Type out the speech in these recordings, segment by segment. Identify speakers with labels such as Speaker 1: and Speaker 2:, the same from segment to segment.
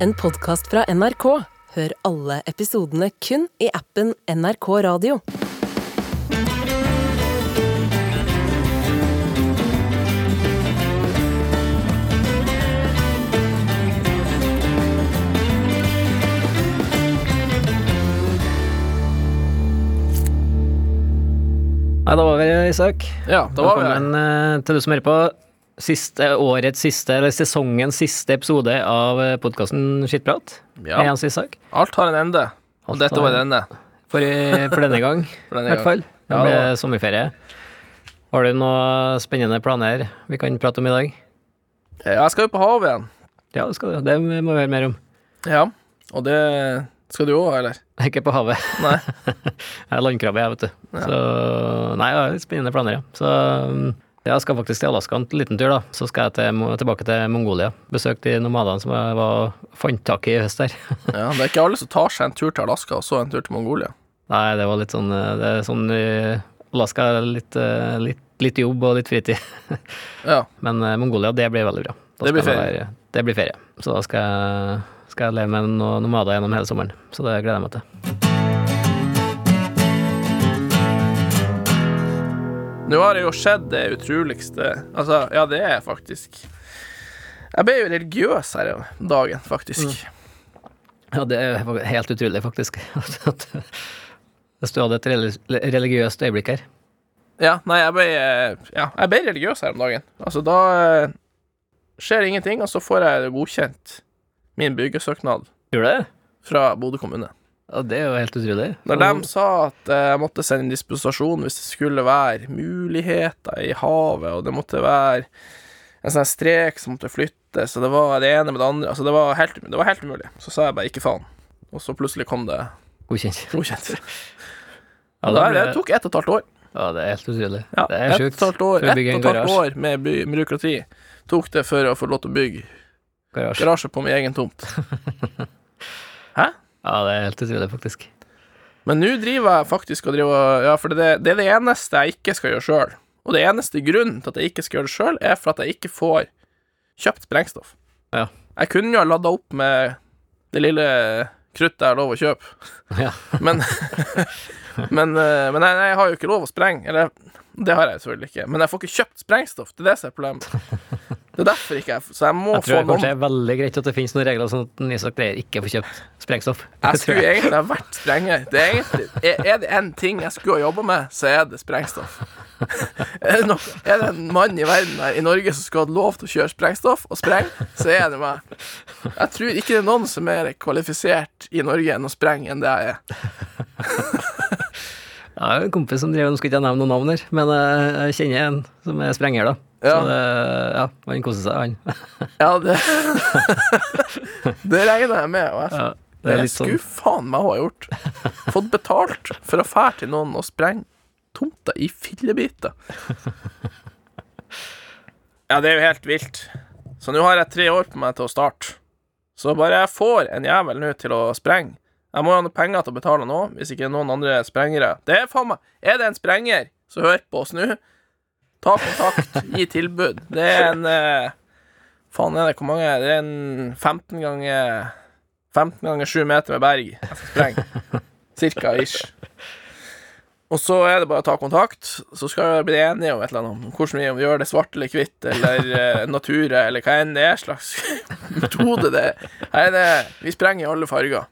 Speaker 1: en podkast fra NRK. Hør alle episodene kun i appen NRK Radio.
Speaker 2: Nei, da var vi Isak.
Speaker 3: Ja, da var vi der.
Speaker 2: Velkommen eh, til du som hører på. Siste, årets siste, eller sesongens siste episode av podkasten Skittprat.
Speaker 3: Ja.
Speaker 2: Med Jens Isak.
Speaker 3: Alt har en ende, og
Speaker 2: Alt
Speaker 3: dette
Speaker 2: har
Speaker 3: var
Speaker 2: en-
Speaker 3: en ende.
Speaker 2: For, i- for denne gang,
Speaker 3: For
Speaker 2: i
Speaker 3: denne
Speaker 2: hvert
Speaker 3: gang.
Speaker 2: fall. Det
Speaker 3: Ja,
Speaker 2: ble
Speaker 3: da.
Speaker 2: sommerferie. Har du noen spennende planer vi kan prate om i dag?
Speaker 3: Ja, Jeg skal jo på havet igjen.
Speaker 2: Ja, det, skal, du. det må vi høre mer om.
Speaker 3: Ja, og det skal du òg, eller?
Speaker 2: Ikke på havet.
Speaker 3: Nei.
Speaker 2: Jeg er landkrabbe, jeg, vet du. Så Nei, jeg har litt spennende planer, ja. Så mm, jeg skal faktisk til Alaska en liten tur, da. Så skal jeg til, Mo- tilbake til Mongolia. Besøke de nomadene som jeg var, fant tak i i høst der.
Speaker 3: Ja, det er ikke alle som tar seg en tur til Alaska og så en tur til Mongolia.
Speaker 2: Nei, det var litt sånn eh, Det er sånn eh, Alaska er litt, eh, litt, litt jobb og litt fritid.
Speaker 3: Ja,
Speaker 2: Men eh, Mongolia, det blir veldig bra. Da
Speaker 3: Det blir
Speaker 2: skal jeg
Speaker 3: ferie.
Speaker 2: være- det blir ferie. Så da skal jeg, skal jeg leve med noen nomader gjennom hele sommeren. Så det gleder jeg meg til.
Speaker 3: Nå har det jo skjedd det utroligste Altså, ja, det er faktisk Jeg ble jo religiøs her om dagen, faktisk.
Speaker 2: Ja, det er fak- helt utrolig, faktisk. at- Hvis du hadde et reli- religiøst øyeblikk her.
Speaker 3: Ja, nei, jeg ble eh, Ja, jeg ble religiøs her om dagen. Altså, da eh, skjer ingenting, og så får jeg godkjent min byggesøknad
Speaker 2: Gjorde du det?
Speaker 3: fra Bodø kommune.
Speaker 2: Ja, det er jo helt utrolig.
Speaker 3: Når de sa at eh, jeg måtte sende disposisjon hvis det skulle være muligheter i havet, og det måtte være en sånn strek som måtte flyttes, og det var det ene med det andre altså det, var helt, det var helt umulig. Så sa jeg bare ikke faen. Og så plutselig kom det
Speaker 2: Godkjent.
Speaker 3: godkjent.
Speaker 2: Ja,
Speaker 3: det,
Speaker 2: da ble-
Speaker 3: det tok ett og et halvt år.
Speaker 2: ja, det er helt utrolig.
Speaker 3: Ja,
Speaker 2: det er
Speaker 3: ett og
Speaker 2: sjukt.
Speaker 3: et halvt år,
Speaker 2: For å
Speaker 3: ett
Speaker 2: bygge
Speaker 3: og
Speaker 2: en
Speaker 3: et halvt
Speaker 2: garasje.
Speaker 3: år med by- byråkrati tok det for å få lov til å bygge
Speaker 2: garasje.
Speaker 3: garasje på min egen tomt.
Speaker 2: Ja, det er helt utrolig, faktisk.
Speaker 3: Men nå driver jeg faktisk og driver Ja, for det, det er det eneste jeg ikke skal gjøre sjøl. Og det eneste grunnen til at jeg ikke skal gjøre det sjøl, er for at jeg ikke får kjøpt sprengstoff.
Speaker 2: Ja.
Speaker 3: Jeg kunne jo ha lada opp med det lille kruttet jeg har lov å kjøpe,
Speaker 2: Ja.
Speaker 3: men Men, eh, men jeg, jeg har jo ikke lov å sprenge. Eller det har jeg selvfølgelig ikke. Men jeg får ikke kjøpt sprengstoff. Det er det som er problemet. Det er derfor ikke jeg Så jeg må
Speaker 2: Jeg tror det
Speaker 3: få noen
Speaker 2: kanskje er veldig greit at det finnes noen regler sånn at en Isak Dreyer ikke får kjøpt sprengstoff.
Speaker 3: Jeg
Speaker 2: Det tror
Speaker 3: skulle
Speaker 2: jeg.
Speaker 3: egentlig ha vært strenger. Det er, egentlig, er- er det én ting jeg skulle ha jobba med, så er det sprengstoff. er, det noe, er det en mann i verden her i Norge som skulle hatt lov til å kjøre sprengstoff og spreng, så er det meg. Jeg tror ikke det er noen som er kvalifisert i Norge enn å sprenge enn det jeg er.
Speaker 2: Jeg har jo en kompis som driver, nå skal ikke jeg nevne noen navn her, men eh, jeg kjenner en som er sprenger, da.
Speaker 3: Ja.
Speaker 2: Så det, ja, han koser seg, han.
Speaker 3: Ja, det Det regner jeg med. Og jeg,
Speaker 2: Ja, det er
Speaker 3: jeg
Speaker 2: litt sånn
Speaker 3: skulle faen meg ha gjort. Fått betalt for å fære til noen og sprenge tomta i fillebiter. Ja, det er jo helt vilt. Så nå har jeg tre år på meg til å starte. Så bare jeg får en jævel nå til å sprenge Jeg må jo ha noe penger til å betale nå, hvis ikke noen andre sprengere Det er faen meg Er det en sprenger som hører på oss nå, ta kontakt, gi tilbud. Det er en eh, Faen, er det hvor mange Det er en 15 ganger 15 ganger 7 meter med berg. Jeg skal sprenge. Cirka ish. Og så er det bare å ta kontakt, så skal vi bli enige om et eller annet. om Hvordan vi om vi gjør det svart eller hvitt, eller eh, natura, eller hva enn det er slags metode det er. Her er det Vi sprenger i alle farger.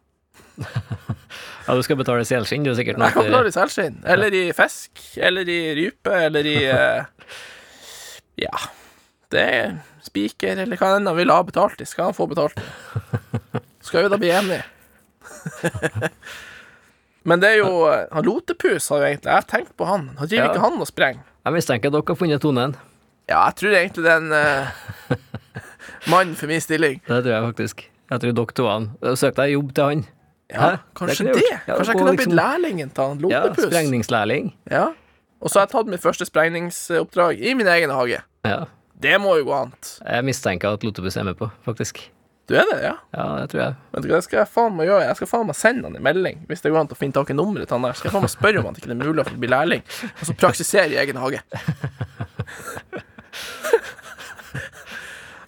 Speaker 2: Ja, du skal betale selskinn, du er sikkert nå.
Speaker 3: Jeg kan klare i selskinn. Eller i fisk. Eller i rype. Eller i eh, Ja. Det er spiker, eller hva enn han vil ha betalt i. Skal han få betalt? Skal vi da bli enige? Men det er jo eh, Han Lotepus har jo egentlig Jeg har tenkt på han. Han driver
Speaker 2: Ja.
Speaker 3: ikke han og sprenger?
Speaker 2: Jeg mistenker at dere har funnet tonen.
Speaker 3: Ja, jeg tror egentlig det er en eh, mann for min stilling.
Speaker 2: Det tror jeg faktisk. Jeg tror dere to han. Søk deg jobb til han.
Speaker 3: Ja,
Speaker 2: Hæ?
Speaker 3: kanskje
Speaker 2: Det kunne
Speaker 3: det.
Speaker 2: jeg gjort. Ja, gå
Speaker 3: Kanskje jeg kunne ha
Speaker 2: liksom-
Speaker 3: blitt lærlingen til han
Speaker 2: Ja,
Speaker 3: Lotepus. Ja,
Speaker 2: Sprengningslærling.
Speaker 3: Og så har jeg tatt mitt første sprengningsoppdrag i min egen hage.
Speaker 2: Ja.
Speaker 3: Det må jo gå annet.
Speaker 2: Jeg mistenker at Lotepus er med på, faktisk.
Speaker 3: Du er det, ja?
Speaker 2: Ja, det tror jeg.
Speaker 3: Vet du hva, det skal jeg faen meg gjøre. Jeg skal faen meg sende han en melding hvis det går an til å finne tak i nummeret til han der. Skal jeg faen meg spørre om han ikke det er mulig å få bli lærling, og så praksisere i egen hage.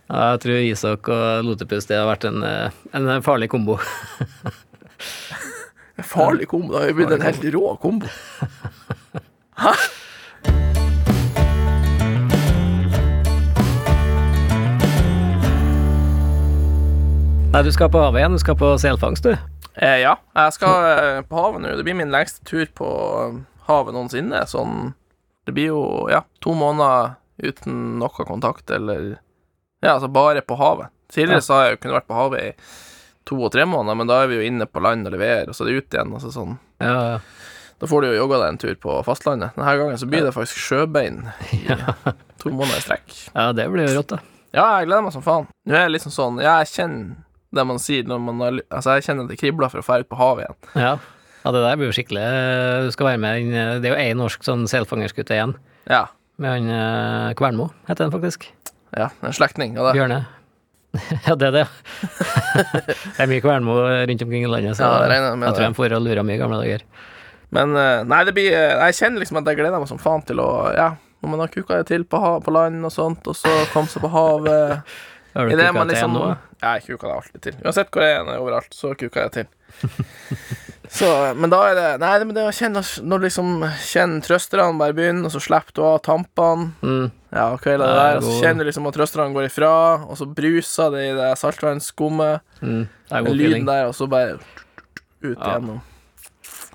Speaker 2: Ja, jeg tror Isak og Lotepus det har vært en, eh, en farlig kombo.
Speaker 3: En farlig kombo. Det har jo blitt en helt rå kombo. Hæ?
Speaker 2: Nei, du skal på havet igjen. Du skal på selfangst, du.
Speaker 3: Eh, ja, jeg skal eh, på havet nå. Det blir min lengste tur på eh, havet noensinne. Sånn Det blir jo, ja, to måneder uten noe kontakt, eller Ja, altså bare på havet. Tidligere så har jeg jo kunnet vært på havet i to og tre måneder, men da er vi jo inne på land og leverer, og så er det ut igjen. Altså sånn.
Speaker 2: Ja,
Speaker 3: Da får du jo jogga deg en tur på fastlandet. Denne gangen så blir det faktisk sjøbein
Speaker 2: ja.
Speaker 3: to måneder i strekk.
Speaker 2: ja det blir jo rått, da.
Speaker 3: Ja, jeg gleder meg som faen. Nå er jeg liksom sånn Ja, jeg kjenner det man sier når man har ly- Altså, jeg kjenner at det kribler for å dra ut på havet igjen.
Speaker 2: Ja. ja, det der blir jo skikkelig eh, Du skal være med inn eh, Det er jo én norsk sånn selfangerskute igjen,
Speaker 3: Ja.
Speaker 2: med han eh, Kvernmo, heter han faktisk.
Speaker 3: Ja, en slektning av det.
Speaker 2: Bjørne. Ja, det er det. Det er mye Kvernmo rundt omkring i landet, så
Speaker 3: Ja, jeg regner med
Speaker 2: jeg tror
Speaker 3: det.
Speaker 2: de får og lurer mye i gamle dager.
Speaker 3: Men eh, nei, det blir eh, Jeg kjenner liksom at jeg gleder meg som faen til å Ja, når man har kuka det til på, ha på land og sånt, og så komme seg på havet
Speaker 2: Har du
Speaker 3: I det
Speaker 2: kukka
Speaker 3: man
Speaker 2: til
Speaker 3: liksom
Speaker 2: nå?
Speaker 3: Ja, jeg kuka det alltid til. Uansett hvor jeg er når jeg er overalt, så kuka jeg til. Så, eh, men da er det Nei, men det å kjenne Når du liksom kjenner trøsterne bare begynner, og så slipper du av tampene
Speaker 2: Mm.
Speaker 3: Ja, og kvelden
Speaker 2: Nei,
Speaker 3: der, og så
Speaker 2: god.
Speaker 3: kjenner du liksom at trøsterne går ifra, og så bruser det i det saltvannsskummet,
Speaker 2: Mm. Det er
Speaker 3: den
Speaker 2: god
Speaker 3: lyden
Speaker 2: feeling.
Speaker 3: der, og så bare ut
Speaker 2: Ja.
Speaker 3: igjennom.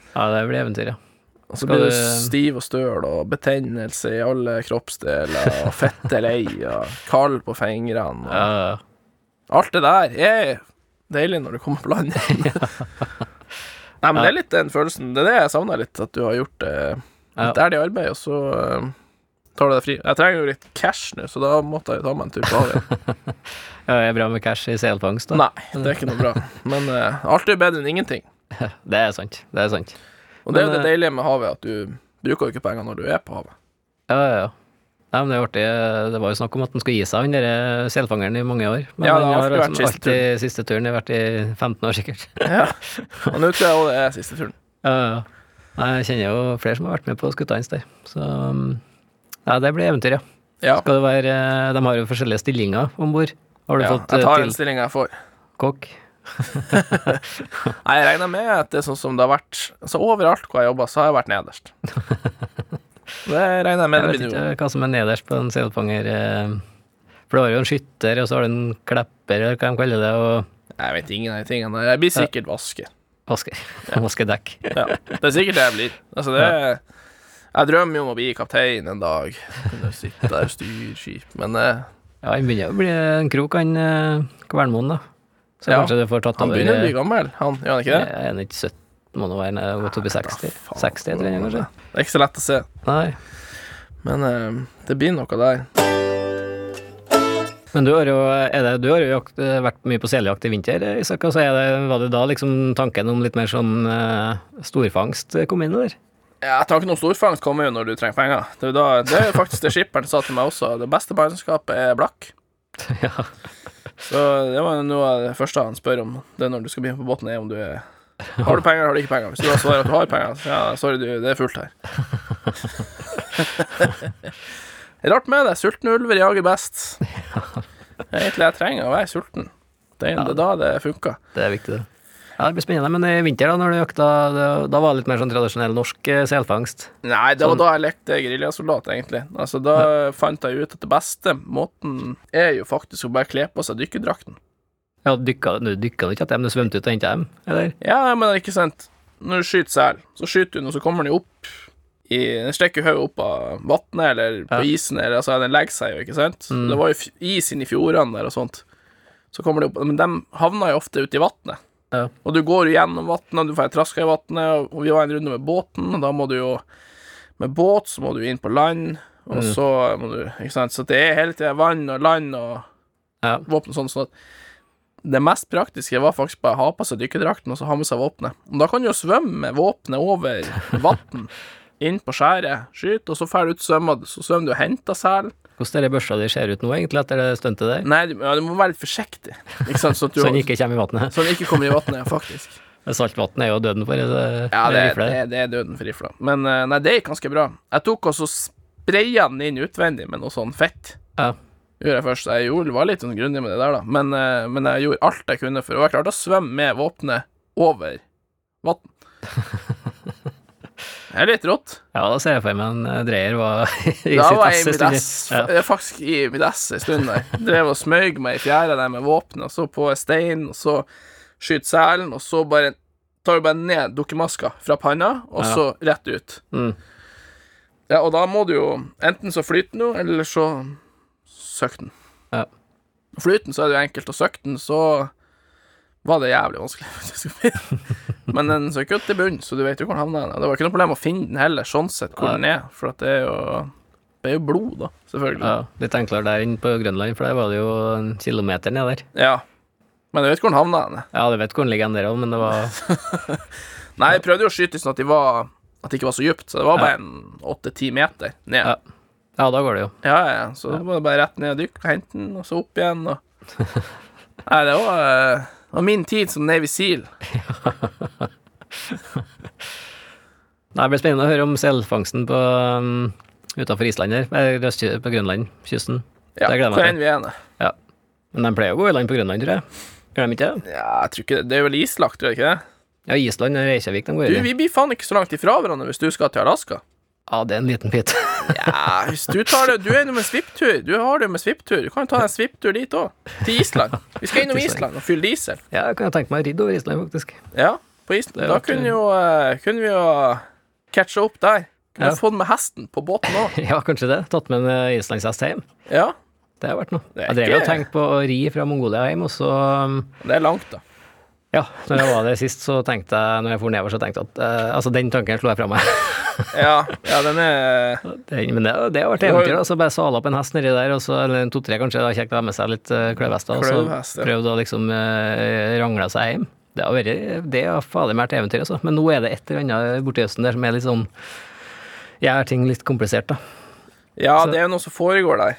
Speaker 2: Ja, det blir eventyr, ja.
Speaker 3: Og så
Speaker 2: Skal
Speaker 3: blir du
Speaker 2: du-
Speaker 3: stiv og støl og betennelse i alle kroppsdeler og fettelei og kald på fingrene.
Speaker 2: ja.
Speaker 3: Og alt det der er deilig når du kommer på land. Nei, men det er litt den følelsen. Det er det jeg savner litt, at du har gjort det.
Speaker 2: Ja.
Speaker 3: Det er det i arbeid, og så eh, tar du deg fri. Jeg trenger jo litt cash nå, så da måtte jeg jo ta meg en tur på havet.
Speaker 2: ja, det er bra med cash i selfangst, da.
Speaker 3: Nei, det er ikke noe bra. Men eh, alt er bedre enn ingenting.
Speaker 2: Det er sant. Det er sant.
Speaker 3: Og
Speaker 2: Men,
Speaker 3: det er jo det
Speaker 2: eh,
Speaker 3: deilige med havet, at du bruker jo ikke penger når du er på havet.
Speaker 2: Ja, ja, ja. Nei, men det er artig. Det var jo snakk om at han skulle gi seg, han derre selfangeren, i mange år. Men
Speaker 3: Ja, det
Speaker 2: han
Speaker 3: har
Speaker 2: har
Speaker 3: alltid vært
Speaker 2: liksom
Speaker 3: siste
Speaker 2: alltid siste turen. Det har vært i 15 år, sikkert.
Speaker 3: Ja. Og nå tror jeg også det er siste turen.
Speaker 2: Ja, ja. Nei, Jeg kjenner jo flere som har vært med på skuta hans der. Så um, ja, det blir eventyr, ja.
Speaker 3: Ja.
Speaker 2: Skal det være, eh, de har jo forskjellige stillinger om bord. Har du
Speaker 3: Ja,
Speaker 2: fått eh,
Speaker 3: jeg tar den
Speaker 2: til
Speaker 3: stillinga jeg får.
Speaker 2: kokk?
Speaker 3: Nei, jeg regner med at det er sånn som det har vært Så overalt hvor jeg jobber, så har jeg vært nederst. Det regner jeg med.
Speaker 2: Jeg
Speaker 3: det
Speaker 2: vet
Speaker 3: blir
Speaker 2: ikke
Speaker 3: jo.
Speaker 2: hva som er nederst på en selfanger. eh, For du har jo en skytter, og så har du en klepper, eller hva de kaller det, og
Speaker 3: Jeg vet ingen av de tingene. Jeg blir sikkert vasker.
Speaker 2: vasker. Vaskedekk.
Speaker 3: Ja. Det er sikkert det jeg blir. Altså, det er, jeg drømmer jo om å bli kaptein en dag. Kunne sitte der og styre skip. Men eh,
Speaker 2: Ja, han begynner å bli en krok, han eh, Kvernmoen, da. Så
Speaker 3: Ja.
Speaker 2: kanskje du får tatt
Speaker 3: han
Speaker 2: over
Speaker 3: begynner å
Speaker 2: eh,
Speaker 3: bli gammel, han. Gjør han ikke
Speaker 2: ja,
Speaker 3: det?
Speaker 2: Er han ikke 17, må nå være nei, godt oppi 60?
Speaker 3: faen.
Speaker 2: 60, tror jeg kanskje?
Speaker 3: Det er ikke så lett å se.
Speaker 2: Nei.
Speaker 3: Men eh, det blir noe der.
Speaker 2: Men du har jo, er det, du har jo jakt, eh, vært mye på seljakt i vinter, Isak. og Så er det, var det da liksom tanken om litt mer sånn eh, storfangst kom inn der?
Speaker 3: Ja, tanken om storfangst kommer jo når du trenger penger. Det er, jo da, det er jo faktisk det skipperen sa til meg også. Det beste barneskapet er blakk.
Speaker 2: ja.
Speaker 3: Så det var jo noe av det første han spør om Det er når du skal begynne på båten, er om du er Har du penger, eller har du ikke penger? Hvis du da svarer at du har penger, så ja, sorry, du, det er fullt her. Rart med det. Sultne ulver jager best. Egentlig jeg trenger å være sulten. Det er det er da det funker.
Speaker 2: Det er viktig, det. Ja, Det blir spennende. Men i vinter, da når du jakta, da, da var det litt mer sånn tradisjonell norsk eh, selfangst?
Speaker 3: Nei, det var da jeg lekte geriljasoldat, egentlig. Altså, Da fant jeg ut at det beste måten er jo faktisk å bare kle på seg dykkerdrakten.
Speaker 2: Ja, dykka du dykka ikke etter dem, du svømte ut og henta dem, eller?
Speaker 3: Ja, men ikke sant. Når du skyter sel, så skyter du den, og så kommer den jo opp i Den stikker hodet opp av vannet eller på
Speaker 2: Ja. Mm.
Speaker 3: isen, eller altså, den legger seg jo, ikke sant? Det var jo f- is inni fjordene der og sånt. Så kommer det opp Men de havna jo ofte ute i vannet.
Speaker 2: Ja.
Speaker 3: Og du går jo gjennom vannet, du får traska i vannet, og vi var en runde med båten, og da må du jo Med båt så må du inn på land, og
Speaker 2: Mm.
Speaker 3: så må du Ikke sant? Så det er hele tida vann og land og
Speaker 2: Ja.
Speaker 3: våpen og sånn, sånn at det mest praktiske var faktisk bare å ha på seg dykkerdrakten og så ha med seg våpenet. Og da kan du jo svømme med våpenet over vann, inn på skjæret, skyte, og så drar du ut og svømmer, så svømmer du og henter sel.
Speaker 2: Hvordan er det børsa di ser ut nå, egentlig, etter det stuntet der?
Speaker 3: Nei, du, ja, du må være litt forsiktig, Sånn ikke sant, så, at du,
Speaker 2: Så den ikke kommer i vannet?
Speaker 3: så den ikke kommer i vannet, faktisk.
Speaker 2: Saltvann er jo døden for eh,
Speaker 3: Ja, det,
Speaker 2: rifle.
Speaker 3: det, det er døden for rifla. Men eh, nei, det gikk ganske bra. Jeg tok og så spraya den inn utvendig med noe sånn fett.
Speaker 2: Ja.
Speaker 3: gjorde jeg først. Jeg gjorde, var litt sånn grundig med det der, da. Men, eh, men jeg gjorde alt jeg kunne for Og jeg klarte å svømme med våpenet over vann. Det er litt rått.
Speaker 2: Ja, da ser jeg for meg en eh, Dreyer var i
Speaker 3: Da
Speaker 2: sitt
Speaker 3: var
Speaker 2: ess
Speaker 3: jeg
Speaker 2: en
Speaker 3: i mitt
Speaker 2: stund.
Speaker 3: ess,
Speaker 2: Ja.
Speaker 3: jeg er faktisk i mitt ess en stund der. Drev og smøg meg i fjæra der med våpen, og så på en stein, og så skyte selen, og så bare tar du bare ned dukkemaska fra panna, og
Speaker 2: Ja.
Speaker 3: så rett ut.
Speaker 2: Mm.
Speaker 3: Ja, og da må du jo Enten så flyter den jo, eller så søker den.
Speaker 2: Ja.
Speaker 3: Flyter den, så er det jo enkelt, og søker den, så var det jævlig vanskelig. faktisk. Men den søker jo til bunnen, så du vet jo hvor den havner. hen. Og Det var ikke noe problem å finne den heller, sånn sett, hvor
Speaker 2: Nei.
Speaker 3: den er, for at det er jo Det er jo blod, da, selvfølgelig.
Speaker 2: Ja, litt enklere der enn på Grønland, for der var det jo en kilometer ned der.
Speaker 3: Ja. Men du vet hvor den havna hen.
Speaker 2: Ja, du vet hvor den ligger enn der også, men det var
Speaker 3: Nei, jeg prøvde jo å skyte sånn at de var At det ikke var så dypt, så det var
Speaker 2: Ja.
Speaker 3: bare en åtte-ti meter ned.
Speaker 2: Ja. Ja, da går det jo.
Speaker 3: Ja, ja, ja. Så det var det bare rett ned og dykke, hente den, og så opp igjen, og Nei, det var, eh, det var min tid som Navy Seal.
Speaker 2: Nei, det blir spennende å høre om selfangsten på um, utenfor Island her, eller østky- på Grønlandkysten.
Speaker 3: Ja,
Speaker 2: Det gleder jeg meg
Speaker 3: hvor enn vi er. nå.
Speaker 2: Ja. Men de pleier å gå i land på Grønland, tror jeg. Gjør de ikke det?
Speaker 3: Ja, jeg tror ikke det. Det er vel islagt, tror jeg ikke det?
Speaker 2: Ja, Island og Reykjavik de går
Speaker 3: Du,
Speaker 2: i. det.
Speaker 3: vi blir faen ikke så langt ifra hverandre hvis du skal til Alaska.
Speaker 2: Ja, det er en liten pit.
Speaker 3: Ja, hvis du tar det Du er innom en svipptur. Du har det jo med svipptur. Du kan jo ta en svipptur dit òg. Til Island. Vi skal innom
Speaker 2: Til
Speaker 3: Island
Speaker 2: Island.
Speaker 3: og fylle diesel.
Speaker 2: ja, jeg kan jo tenke meg å ridde over Island, faktisk.
Speaker 3: Ja, på Island.
Speaker 2: Det
Speaker 3: Da
Speaker 2: var
Speaker 3: kunne,
Speaker 2: ikke-
Speaker 3: jo, eh, kunne vi jo catche opp der. Kunne
Speaker 2: Ja.
Speaker 3: få den med hesten på båten òg.
Speaker 2: Ja, kanskje det. Tatt med en eh, islandshest hjem.
Speaker 3: Ja.
Speaker 2: Det har vært noe.
Speaker 3: Det er
Speaker 2: Jeg drev jo og
Speaker 3: ikke-
Speaker 2: tenkte på å ri fra Mongolia hjem, og så um,
Speaker 3: Det er langt, da.
Speaker 2: Ja, når jeg var der sist, så tenkte jeg Når jeg for nedover, så tenkte jeg at eh, Altså, den tanken slo jeg fra meg.
Speaker 3: Ja, ja den er
Speaker 2: Den, men det, det har vært
Speaker 3: Det var-
Speaker 2: eventyr, altså. Bare sale opp en hest nedi der, og så eller en to-tre, kanskje. Da kjekt å ha med seg litt uh, kløvhester, og
Speaker 3: Kløvhest, ja.
Speaker 2: så prøvde å liksom uh, rangle seg hjem. Det har vært Det har fader meg vært eventyr, altså. Men nå er det et eller annet borti høsten der som er litt sånn Gjør ting litt komplisert, da.
Speaker 3: Ja,
Speaker 2: Så-
Speaker 3: det er jo noe som foregår der.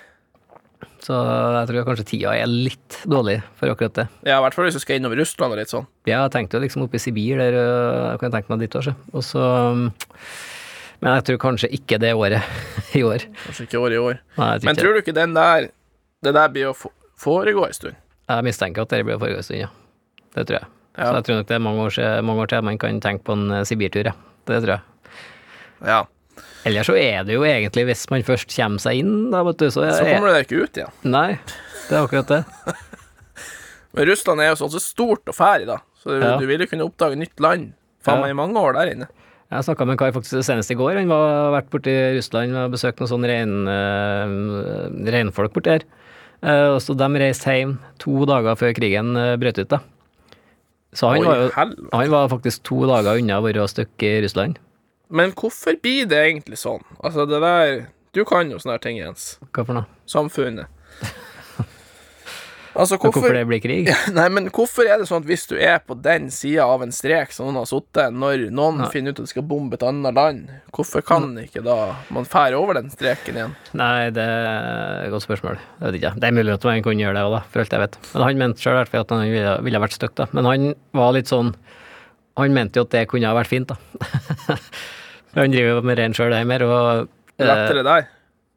Speaker 2: Så jeg tror kanskje tida er litt dårlig for akkurat det.
Speaker 3: Ja, I hvert fall hvis du skal innom Russland og litt sånn.
Speaker 2: Jeg tenkte jo liksom oppe i Sibir, der øh, kan jeg tenke meg dit også. Og så um, Men jeg tror kanskje ikke det året i år.
Speaker 3: Kanskje ikke år i år.
Speaker 2: Nei, jeg,
Speaker 3: Men
Speaker 2: tror ikke.
Speaker 3: tror du ikke den der Det der blir å fo- foregå en stund?
Speaker 2: jeg mistenker at det blir forrige stund, ja. Det tror jeg.
Speaker 3: Ja.
Speaker 2: Så jeg tror nok det er mange år, siden- mange år til man kan tenke på en eh, Sibirtur, ja. Det tror jeg.
Speaker 3: Ja.
Speaker 2: Ellers så er det jo egentlig, hvis man først kommer seg inn, da, vet du, så,
Speaker 3: Så
Speaker 2: er,
Speaker 3: kommer du deg ikke ut igjen.
Speaker 2: Nei, det er akkurat det.
Speaker 3: Men Russland er jo sånn så stort og færig, da. Så du,
Speaker 2: Ja.
Speaker 3: du vil jo kunne oppdage nytt land. Faen
Speaker 2: Ja.
Speaker 3: meg i mange år der inne.
Speaker 2: Jeg snakka med en kar faktisk senest i går. Han var vært borti Russland og besøkt noen sånne rein, eh, reinfolk borti her. Eh, og så de reiste hjem to dager før krigen eh, brøt ut, da. Så han,
Speaker 3: Oi,
Speaker 2: var, jo,
Speaker 3: helvete.
Speaker 2: han var faktisk to dager unna å være stuck i Russland.
Speaker 3: Men hvorfor blir det egentlig sånn? Altså, det der Du kan jo sånne her ting, Jens.
Speaker 2: Hva for noe?
Speaker 3: Samfunnet. Altså,
Speaker 2: Hvorfor,
Speaker 3: hvorfor
Speaker 2: det blir krig?
Speaker 3: Nei, men hvorfor er det sånn at hvis du er på den sida av en strek som noen har sittet, når noen finner ut at de skal bombe et annet land, hvorfor kan ikke da man fære over den streken igjen?
Speaker 2: Nei, det er et godt spørsmål. Jeg vet ikke. Det er mulig at man kunne gjøre det òg, da, for alt jeg vet. Men han mente sjøl i hvert fall at han ville, ville vært stuck, da. Men han var litt sånn Han mente jo at det kunne ha vært fint, da. For han driver jo med rein sjøl hjemme her, og eh,
Speaker 3: Lettere der?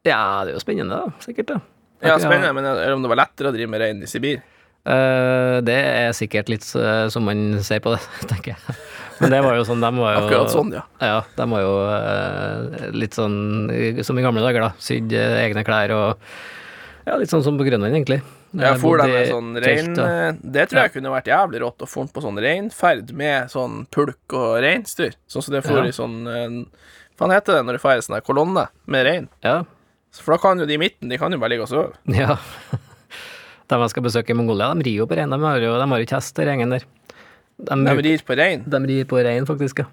Speaker 2: Ja, det er jo spennende, da. Sikkert, da.
Speaker 3: Ja, spennende, men er det om det var lettere å drive med rein i Sibir?
Speaker 2: Eh, det er sikkert litt eh, som man ser på det, tenker jeg. Men det var jo sånn, de var jo
Speaker 3: Akkurat sånn, ja.
Speaker 2: Ja, de var jo eh, litt sånn eh, som i gamle dager, da. Sydd eh, egne klær og Ja, litt sånn som på Grønland, egentlig. Eh,
Speaker 3: Jeg for
Speaker 2: Bodde
Speaker 3: dem med
Speaker 2: i
Speaker 3: sånn rein
Speaker 2: telt, og-
Speaker 3: Det tror jeg kunne vært jævlig rått å få på sånn reinferd med sånn pulk og reinsdyr. Sånn som det for
Speaker 2: Ja.
Speaker 3: i sånn eh, Hva faen heter det når du feirer sånn her kolonne med rein?
Speaker 2: Ja.
Speaker 3: For da kan jo de i midten, de kan jo bare ligge og sove.
Speaker 2: ja. De jeg skal besøke i Mongolia, de rir jo på rein. De har jo, de har jo ikke hest, den gjengen der. De,
Speaker 3: De
Speaker 2: bruker-
Speaker 3: rir på rein.
Speaker 2: de rir på rein, faktisk, ja.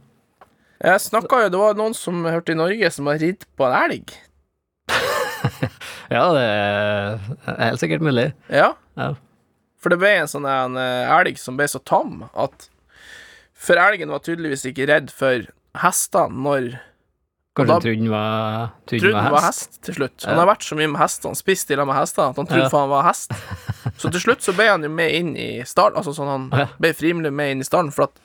Speaker 3: Jeg snakka jo, det var noen som hørte i Norge som har ridd på en elg.
Speaker 2: Ja, det er helt sikkert mulig.
Speaker 3: Ja.
Speaker 2: Ja.
Speaker 3: For det ble en sånn en eh, elg som ble så tam at For elgen var tydeligvis ikke redd for hestene når
Speaker 2: Kanskje
Speaker 3: Og da-
Speaker 2: han trodde han var, trodde
Speaker 3: Trud
Speaker 2: han
Speaker 3: var hest til slutt. Han har vært så mye med hestene, spist i lag med hestene, at han trodde
Speaker 2: Ja.
Speaker 3: faen han var hest. Så til slutt så ble han jo med inn i stallen, altså sånn han
Speaker 2: Ja.
Speaker 3: ble frivillig med inn i stallen, for at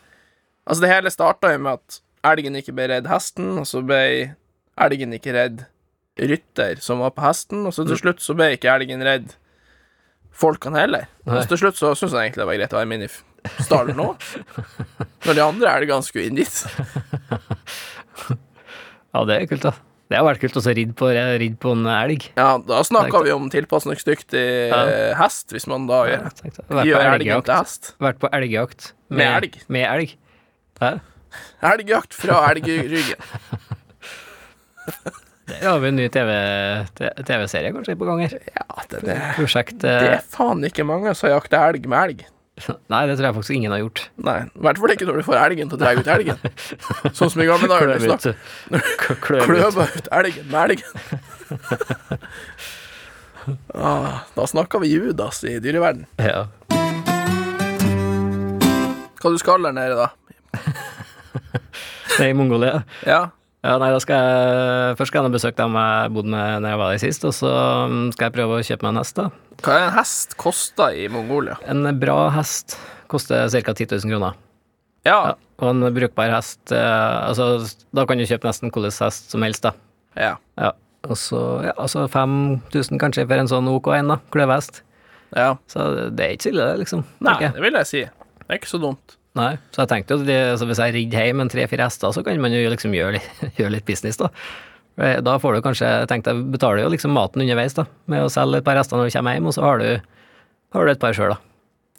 Speaker 3: Altså, det hele starta jo med at elgen ikke ble redd hesten, og så ble elgen ikke redd rytter som var på hesten, og så
Speaker 2: Mm.
Speaker 3: til slutt så ble ikke elgen redd folkene heller. Og
Speaker 2: Nei.
Speaker 3: så til slutt så syns jeg egentlig det var greit å være med inn i stallen nå, når de andre elgene skulle inn dit.
Speaker 2: Ja, det er kult, da. Det har vært kult også å ridde på, ridde på en elg.
Speaker 3: Ja, da
Speaker 2: Det er
Speaker 3: snakka vi om tilpasningsdyktig eh, hest, hvis man da gjør,
Speaker 2: Vært
Speaker 3: gjør
Speaker 2: på
Speaker 3: elgen
Speaker 2: elgjakt.
Speaker 3: til hest.
Speaker 2: Vært på elgjakt.
Speaker 3: Med elg.
Speaker 2: Med elg. Hæ?
Speaker 3: Elgjakt fra elgryggen.
Speaker 2: Det har vi en ny TV TV-serie kanskje på gang her.
Speaker 3: Ja, det, det,
Speaker 2: Prosjekt
Speaker 3: det
Speaker 2: eh,
Speaker 3: er faen ikke mange som jakter elg med elg.
Speaker 2: Nei, det tror jeg faktisk ingen har gjort.
Speaker 3: Nei, i hvert fall ikke når du får elgen til å dra ut elgen. Sånn som i gamle dager. når vi
Speaker 2: Kløv ut.
Speaker 3: snakket
Speaker 2: Kløv ut.
Speaker 3: Kløva ut elgen med elgen. ah, da snakka vi Judas i dyreverden.
Speaker 2: Ja.
Speaker 3: Hva du skal der nede, da?
Speaker 2: Det er i Mongolia.
Speaker 3: Ja,
Speaker 2: Ja, nei, da skal jeg Først skal jeg nå besøke dem jeg bodde med da jeg var der sist, og så mm, skal jeg prøve å kjøpe meg en hest, da.
Speaker 3: Hva er en hest kosta i Mongolia?
Speaker 2: En bra hest koster ca. 10 000 kroner. Ja,
Speaker 3: Ja.
Speaker 2: og en brukbar hest eh, Altså, da kan du kjøpe nesten hvilken hest som helst, da.
Speaker 3: ja.
Speaker 2: Ja. Og så ja, altså 5000 kanskje for en sånn OK en, da. Kløvhest.
Speaker 3: ja.
Speaker 2: Så det er ikke så ille, det, liksom.
Speaker 3: Nei,
Speaker 2: tenker jeg.
Speaker 3: det vil jeg si. Det er ikke så dumt.
Speaker 2: Nei. Så jeg tenkte jo at det, altså, hvis jeg ridde hjem en tre-fire hester, så kan man jo liksom gjøre litt, gjøre litt business, da. Eh, Da får du kanskje Jeg tenkte jeg betaler jo liksom maten underveis, da, med å selge et par hester når du kommer hjem, og så har du, har du et par sjøl, da.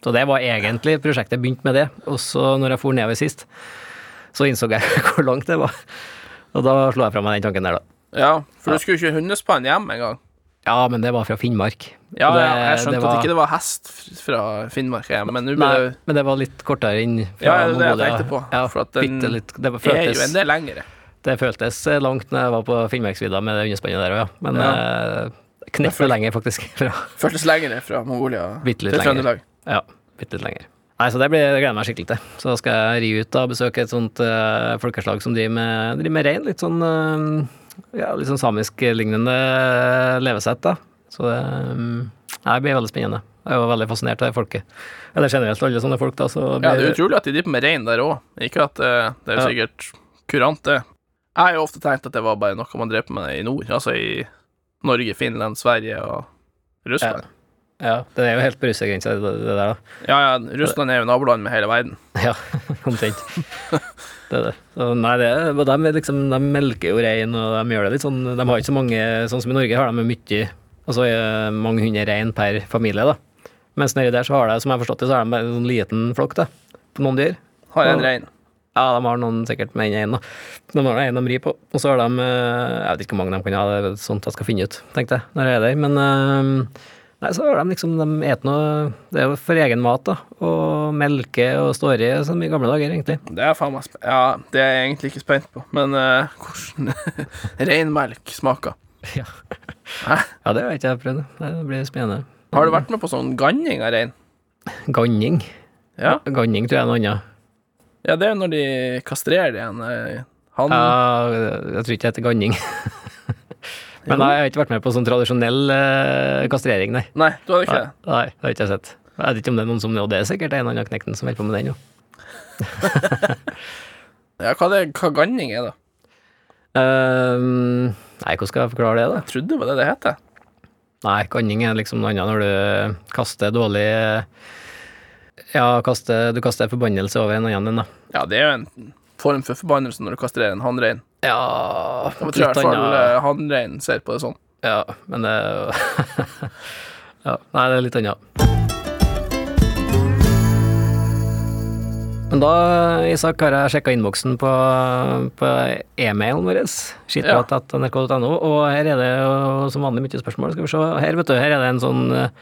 Speaker 2: Så det var egentlig prosjektet begynte med det, og så når jeg for nedover sist, så innså jeg hvor langt det var. Og da slo jeg fra meg den tanken der, da.
Speaker 3: Ja, for du skulle jo ikke hundespann hjem engang.
Speaker 2: Ja, men det var fra Finnmark.
Speaker 3: Ja,
Speaker 2: Og det-
Speaker 3: ja, jeg skjønte
Speaker 2: det var,
Speaker 3: at ikke det var hest f- fra Finnmark hjem, men nå ble
Speaker 2: Nei,
Speaker 3: det
Speaker 2: men det var litt kortere inn fra
Speaker 3: Ja, det er det jeg
Speaker 2: Mongolia.
Speaker 3: tenkte på,
Speaker 2: Ja,
Speaker 3: for at den
Speaker 2: bitte litt. Det
Speaker 3: Det er jo
Speaker 2: føltes,
Speaker 3: en del lengre.
Speaker 2: det føltes eh, langt når jeg var på Finnmarksvidda med det underspannet der òg, ja. Men eh, kneppet lenger, faktisk. Fra,
Speaker 3: Føltes lengre fra Mongolia
Speaker 2: Bitte
Speaker 3: til
Speaker 2: litt lenger.
Speaker 3: Trøndelag.
Speaker 2: ja, bitte litt lenger. Nei, så det blir, jeg gleder meg skikkelig til. Så da skal jeg ri ut da, og besøke et sånt eh, folkeslag som driver med, driver med rein. Litt sånn eh, ja, litt sånn samisk-lignende eh, levesett, da. Så det eh, det blir veldig spennende. Jeg var veldig fascinert av det folket. Eller generelt alle sånne folk, da. Så
Speaker 3: Ja, det
Speaker 2: blir-
Speaker 3: er utrolig at de driver med rein der òg. Ikke at eh, det er jo
Speaker 2: Ja.
Speaker 3: sikkert kurant, det. Jeg har jo ofte tenkt at det var bare noe man drev med i nord, altså i Norge, Finland, Sverige og Russland.
Speaker 2: Ja, det er jo helt på russergrensa, det, det der, da.
Speaker 3: Ja, ja, Russland er jo naboland med hele verden.
Speaker 2: Ja, omtrent. Det er det. Så, nei, det er, og de, er liksom, de melker jo rein, og de gjør det litt sånn De har ikke så mange Sånn som i Norge har de jo mye Altså eh, mange hundre rein per familie, da. Mens nedi der så har de, som jeg har forstått det, så har de bare en sånn liten flokk, da. På noen dyr.
Speaker 3: Har en
Speaker 2: Ja.
Speaker 3: rein.
Speaker 2: Ja, de har noen sikkert med en da. De har en de rir på, og så har de eh, Jeg vet ikke hvor mange de kan ha, det er sånt jeg skal finne ut, tenkte jeg, når jeg er der. Men eh, nei, så har de liksom De et noe Det er jo for egen mat, da. Og melke og står i som i gamle dager, egentlig.
Speaker 3: Det er faen meg sp Ja, det er jeg egentlig ikke spent på, men eh, hvordan reinmelk smaker
Speaker 2: Ja.
Speaker 3: Hæ?
Speaker 2: ja, det har ikke jeg prøvd. Det blir spennende.
Speaker 3: Har du vært med på sånn ganning av rein?
Speaker 2: Ganning.
Speaker 3: Ja.
Speaker 2: Ganning tror jeg er noe annet.
Speaker 3: ja, det er jo når de kastrerer de igjen. eh, Han
Speaker 2: Ja, jeg tror ikke det heter ganning. Men nei, jeg har ikke vært med på sånn tradisjonell eh, kastrering, nei.
Speaker 3: Nei, du hadde ikke
Speaker 2: Nei,
Speaker 3: det?
Speaker 2: nei, det har ikke jeg sett. Jeg vet ikke om det er noen som Og det er sikkert en eller annen knekten som holder på med den nå.
Speaker 3: Ja, hva, det, hva ganning er, da?
Speaker 2: Ehm, nei, hvordan skal jeg forklare det, da?
Speaker 3: Jeg trodde det var det det het. jeg.
Speaker 2: Nei, kanning er liksom noe annet når du kaster dårlig Ja, kaster, du kaster forbannelse over en annen enn, da.
Speaker 3: Ja, det er jo en form for forbannelse når du kastrerer en hannrein.
Speaker 2: Ja,
Speaker 3: Jeg
Speaker 2: litt
Speaker 3: tror i hvert fall
Speaker 2: annet.
Speaker 3: eh, hannreinen ser på det sånn.
Speaker 2: Ja, men det er jo ja, Nei, det er litt annet. Men da, Isak, har jeg sjekka innboksen på, på e-mailen vår, skitprat.nrk.no, og her er det jo som vanlig mye spørsmål. Skal vi se. Her, vet du, her er det en sånn eh,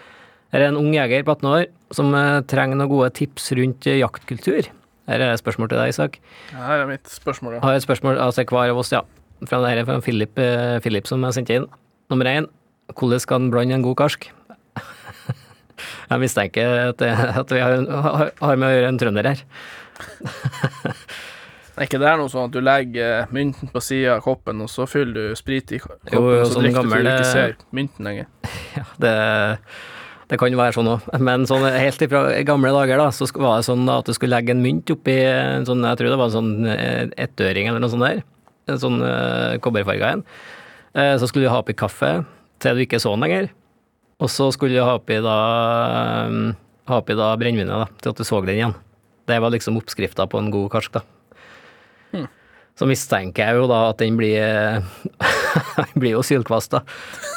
Speaker 2: her er en ung jeger på 18 år som eh, trenger noen gode tips rundt eh, jaktkultur. Her er det spørsmål til deg, Isak.
Speaker 3: Her er mitt spørsmål, ja.
Speaker 2: Har et spørsmål altså hver av oss, ja. Fra det her er fra Philip, eh, Philip som jeg sendte inn. Nummer én, hvordan skal en blande en god karsk? Jeg mistenker at, det- at vi har, en- har har med å gjøre en trønder her.
Speaker 3: Er ikke det noe sånn at du legger eh, mynten på sida av koppen, og så fyller du sprit i ko- koppen,
Speaker 2: Jo, jo,
Speaker 3: og så
Speaker 2: sånn
Speaker 3: drikker du til du
Speaker 2: gammel,
Speaker 3: ikke
Speaker 2: eh,
Speaker 3: ser mynten lenger?
Speaker 2: Ja, det, det kan jo være sånn òg, men sånn, helt ifra gamle dager da, så sk- var det sånn da, at du skulle legge en mynt oppi en sånn, jeg tror det var eh, en sånn eh, ettøring eller noe sånt der. En sånn uh, kobberfarga en. Eh, Så skulle du ha oppi kaffe til du ikke så den lenger. Og så skulle du ha oppi da, eh, ha oppi da brennevinet da, til at du så den igjen. Det var liksom oppskrifta på en god karsk, da. Så mistenker jeg jo da at den blir den blir jo sylkvast, da.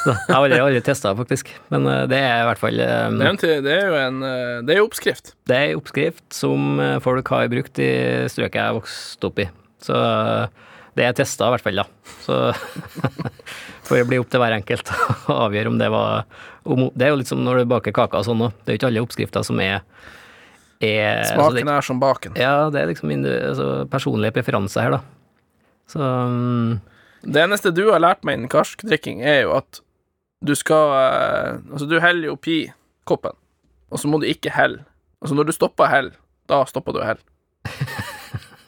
Speaker 2: Så jeg har aldri, aldri testa det, faktisk. Men eh, det er i hvert fall eh,
Speaker 3: Det er jo en, til- det er jo en eh, Det er jo oppskrift.
Speaker 2: det er en oppskrift som eh, folk har brukt i strøket jeg vokste opp i. Så eh, det er testa, i hvert fall. da. Så får det bli opp til hver enkelt å avgjøre om det var om, Det er jo litt som når du baker kaker og sånn òg. Det er jo ikke alle oppskrifter som er, er altså, det-
Speaker 3: Smaken er som baken.
Speaker 2: Ja, det er liksom indu, altså, personlige preferanser her, da. Så mm,
Speaker 3: Det eneste du har lært meg innen karskdrikking, er jo at du skal eh, Altså, du heller jo oppi koppen, og så må du ikke helle. Altså, når du stopper hell, da stopper du hell.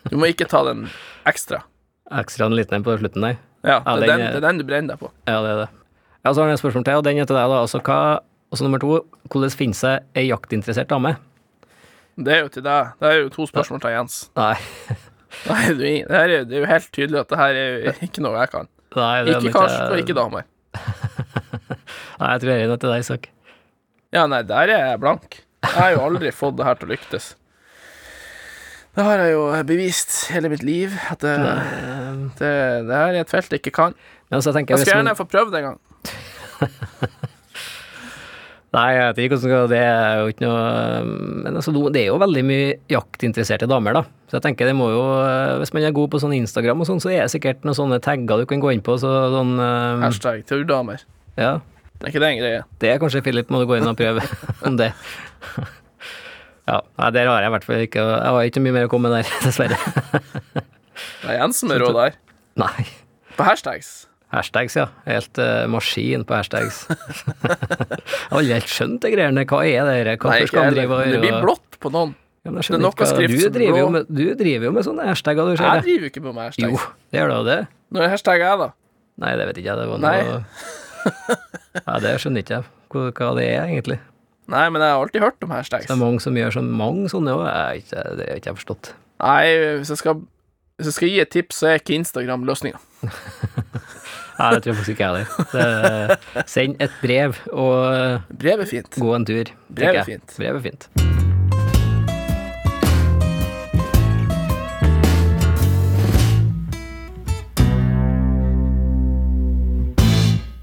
Speaker 3: Du må ikke ta den ekstra.
Speaker 2: ekstra en liten en på slutten der.
Speaker 3: Ja, det
Speaker 2: Ja,
Speaker 3: er
Speaker 2: den
Speaker 3: den,
Speaker 2: er-
Speaker 3: det er den du brenner deg på.
Speaker 2: Ja, det er det. Ja, så har jeg et spørsmål til, og den er til deg, da. Altså, hva, altså nummer to, hvordan finnes det ei jaktinteressert dame?
Speaker 3: Det er jo til deg. Det er jo to spørsmål til Jens.
Speaker 2: Nei.
Speaker 3: Det er, du, det, her er, jo- det er jo helt tydelig at det her er jo ikke noe jeg kan.
Speaker 2: Nei, det er eh, nok-
Speaker 3: Ikke karsk og ikke damer.
Speaker 2: Nei, jeg tror jeg er enig til deg, Isak.
Speaker 3: Ja, nei, der er jeg blank. Jeg har jo aldri fått det her til å lyktes. Det har jeg jo bevist hele mitt liv, at det, det, det her er et felt jeg ikke kan.
Speaker 2: Ja, så tenker Ehm,
Speaker 3: Jeg
Speaker 2: altså, jeg,
Speaker 3: skal
Speaker 2: hvis man,
Speaker 3: gjerne få prøvd det en gang.
Speaker 2: nei, jeg vet ikke hvordan det er jo ikke noe Men altså, det er jo veldig mye jaktinteresserte damer, da. Så jeg tenker det må jo Hvis man er god på sånn Instagram og sånn, så er det sikkert noen sånne tagger du kan gå inn på, så sånn eh,
Speaker 3: Hashtag turdamer.
Speaker 2: Ja.
Speaker 3: Er ikke det en greie?
Speaker 2: Det er kanskje Philip må du gå inn og prøve om det. Ja, nei, der har jeg i hvert fall ikke Jeg har ikke mye mer å komme med der, dessverre.
Speaker 3: Det er Jens som er rå der.
Speaker 2: Nei.
Speaker 3: På hashtags.
Speaker 2: Hashtags, ja. Helt eh, maskin på hashtags. jeg har aldri helt skjønt de greiene. Hva er det her? Hvorfor
Speaker 3: ikke
Speaker 2: skal han
Speaker 3: heller.
Speaker 2: drive og
Speaker 3: Det blir blått på noen.
Speaker 2: Ja, men jeg
Speaker 3: Det er
Speaker 2: skjønner
Speaker 3: nok
Speaker 2: ikke
Speaker 3: av
Speaker 2: hva-
Speaker 3: skrift
Speaker 2: du
Speaker 3: som
Speaker 2: driver, jo
Speaker 3: blå.
Speaker 2: med, du driver jo med sånne hashtagger, du ser
Speaker 3: Jeg
Speaker 2: det.
Speaker 3: driver jo ikke på med
Speaker 2: Jo,
Speaker 3: hashtags.
Speaker 2: det gjør du jo det.
Speaker 3: Når jeg hashtagger jeg, da?
Speaker 2: Nei, det vet ikke jeg. Det var
Speaker 3: Nei.
Speaker 2: noe Nei, det skjønner ikke jeg hva, hva det er, egentlig.
Speaker 3: Nei, men jeg har alltid hørt om
Speaker 2: Det er
Speaker 3: hashtags.
Speaker 2: mange som gjør så mange sånne òg. Det har ikke jeg forstått.
Speaker 3: Nei, hvis jeg skal, hvis jeg skal gi et tips, så er ikke Instagram løsninga.
Speaker 2: Nei, det tror jeg faktisk ikke jeg heller. Det- Send et brev og
Speaker 3: Brev er fint.
Speaker 2: gå en tur.
Speaker 3: Brev
Speaker 2: tenker
Speaker 3: er
Speaker 2: jeg.
Speaker 3: fint.
Speaker 2: Brev er fint.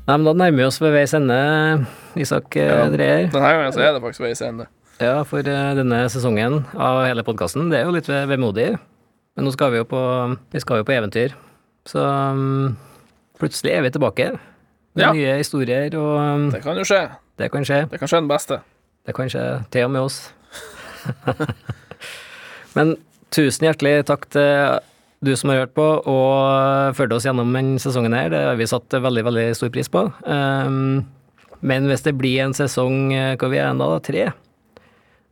Speaker 2: Nei, men Da nærmer vi oss ved veis ende, Isak eh, Dreyer.
Speaker 3: Denne gangen så er det faktisk veis ende.
Speaker 2: Ja, for eh, denne sesongen av hele podkasten, det er jo litt ve- vemodig. Men nå skal vi jo på, vi skal jo på eventyr. Så um, plutselig er vi tilbake. Med
Speaker 3: Ja.
Speaker 2: nye historier, og um,
Speaker 3: Det kan jo skje.
Speaker 2: det kan skje.
Speaker 3: Det kan skje den beste.
Speaker 2: Det kan skje til og med oss. Men tusen hjertelig takk til du som har hørt på og fulgte oss gjennom denne sesongen her. Det har vi satt veldig, veldig stor pris på. Um, men hvis det blir en sesong eh, hvor vi er enda da, tre,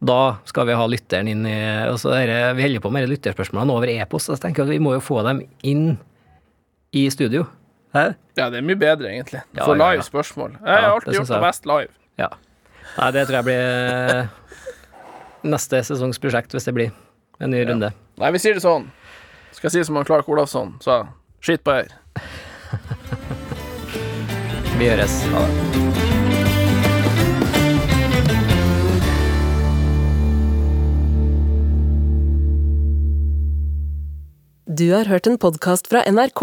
Speaker 2: da skal vi ha lytteren inn i altså dette- Vi holder på med disse lytterspørsmålene over e-post. så Jeg tenker at vi må jo få dem inn i studio. Hæ?
Speaker 3: Ja, det er mye bedre, egentlig. Du
Speaker 2: Ja,
Speaker 3: får
Speaker 2: ja,
Speaker 3: live
Speaker 2: ja.
Speaker 3: spørsmål. Jeg har
Speaker 2: Ja, det
Speaker 3: alltid gjort
Speaker 2: synes jeg.
Speaker 3: det best live.
Speaker 2: Ja. Nei, det tror jeg blir eh, neste sesongs prosjekt, hvis det blir en ny runde.
Speaker 3: Nei, vi sier det sånn. Skal jeg si som han Clark Olafsson sa. Skitt på her.
Speaker 2: Vi høres. Ha det.
Speaker 1: Du har hørt en podkast fra NRK.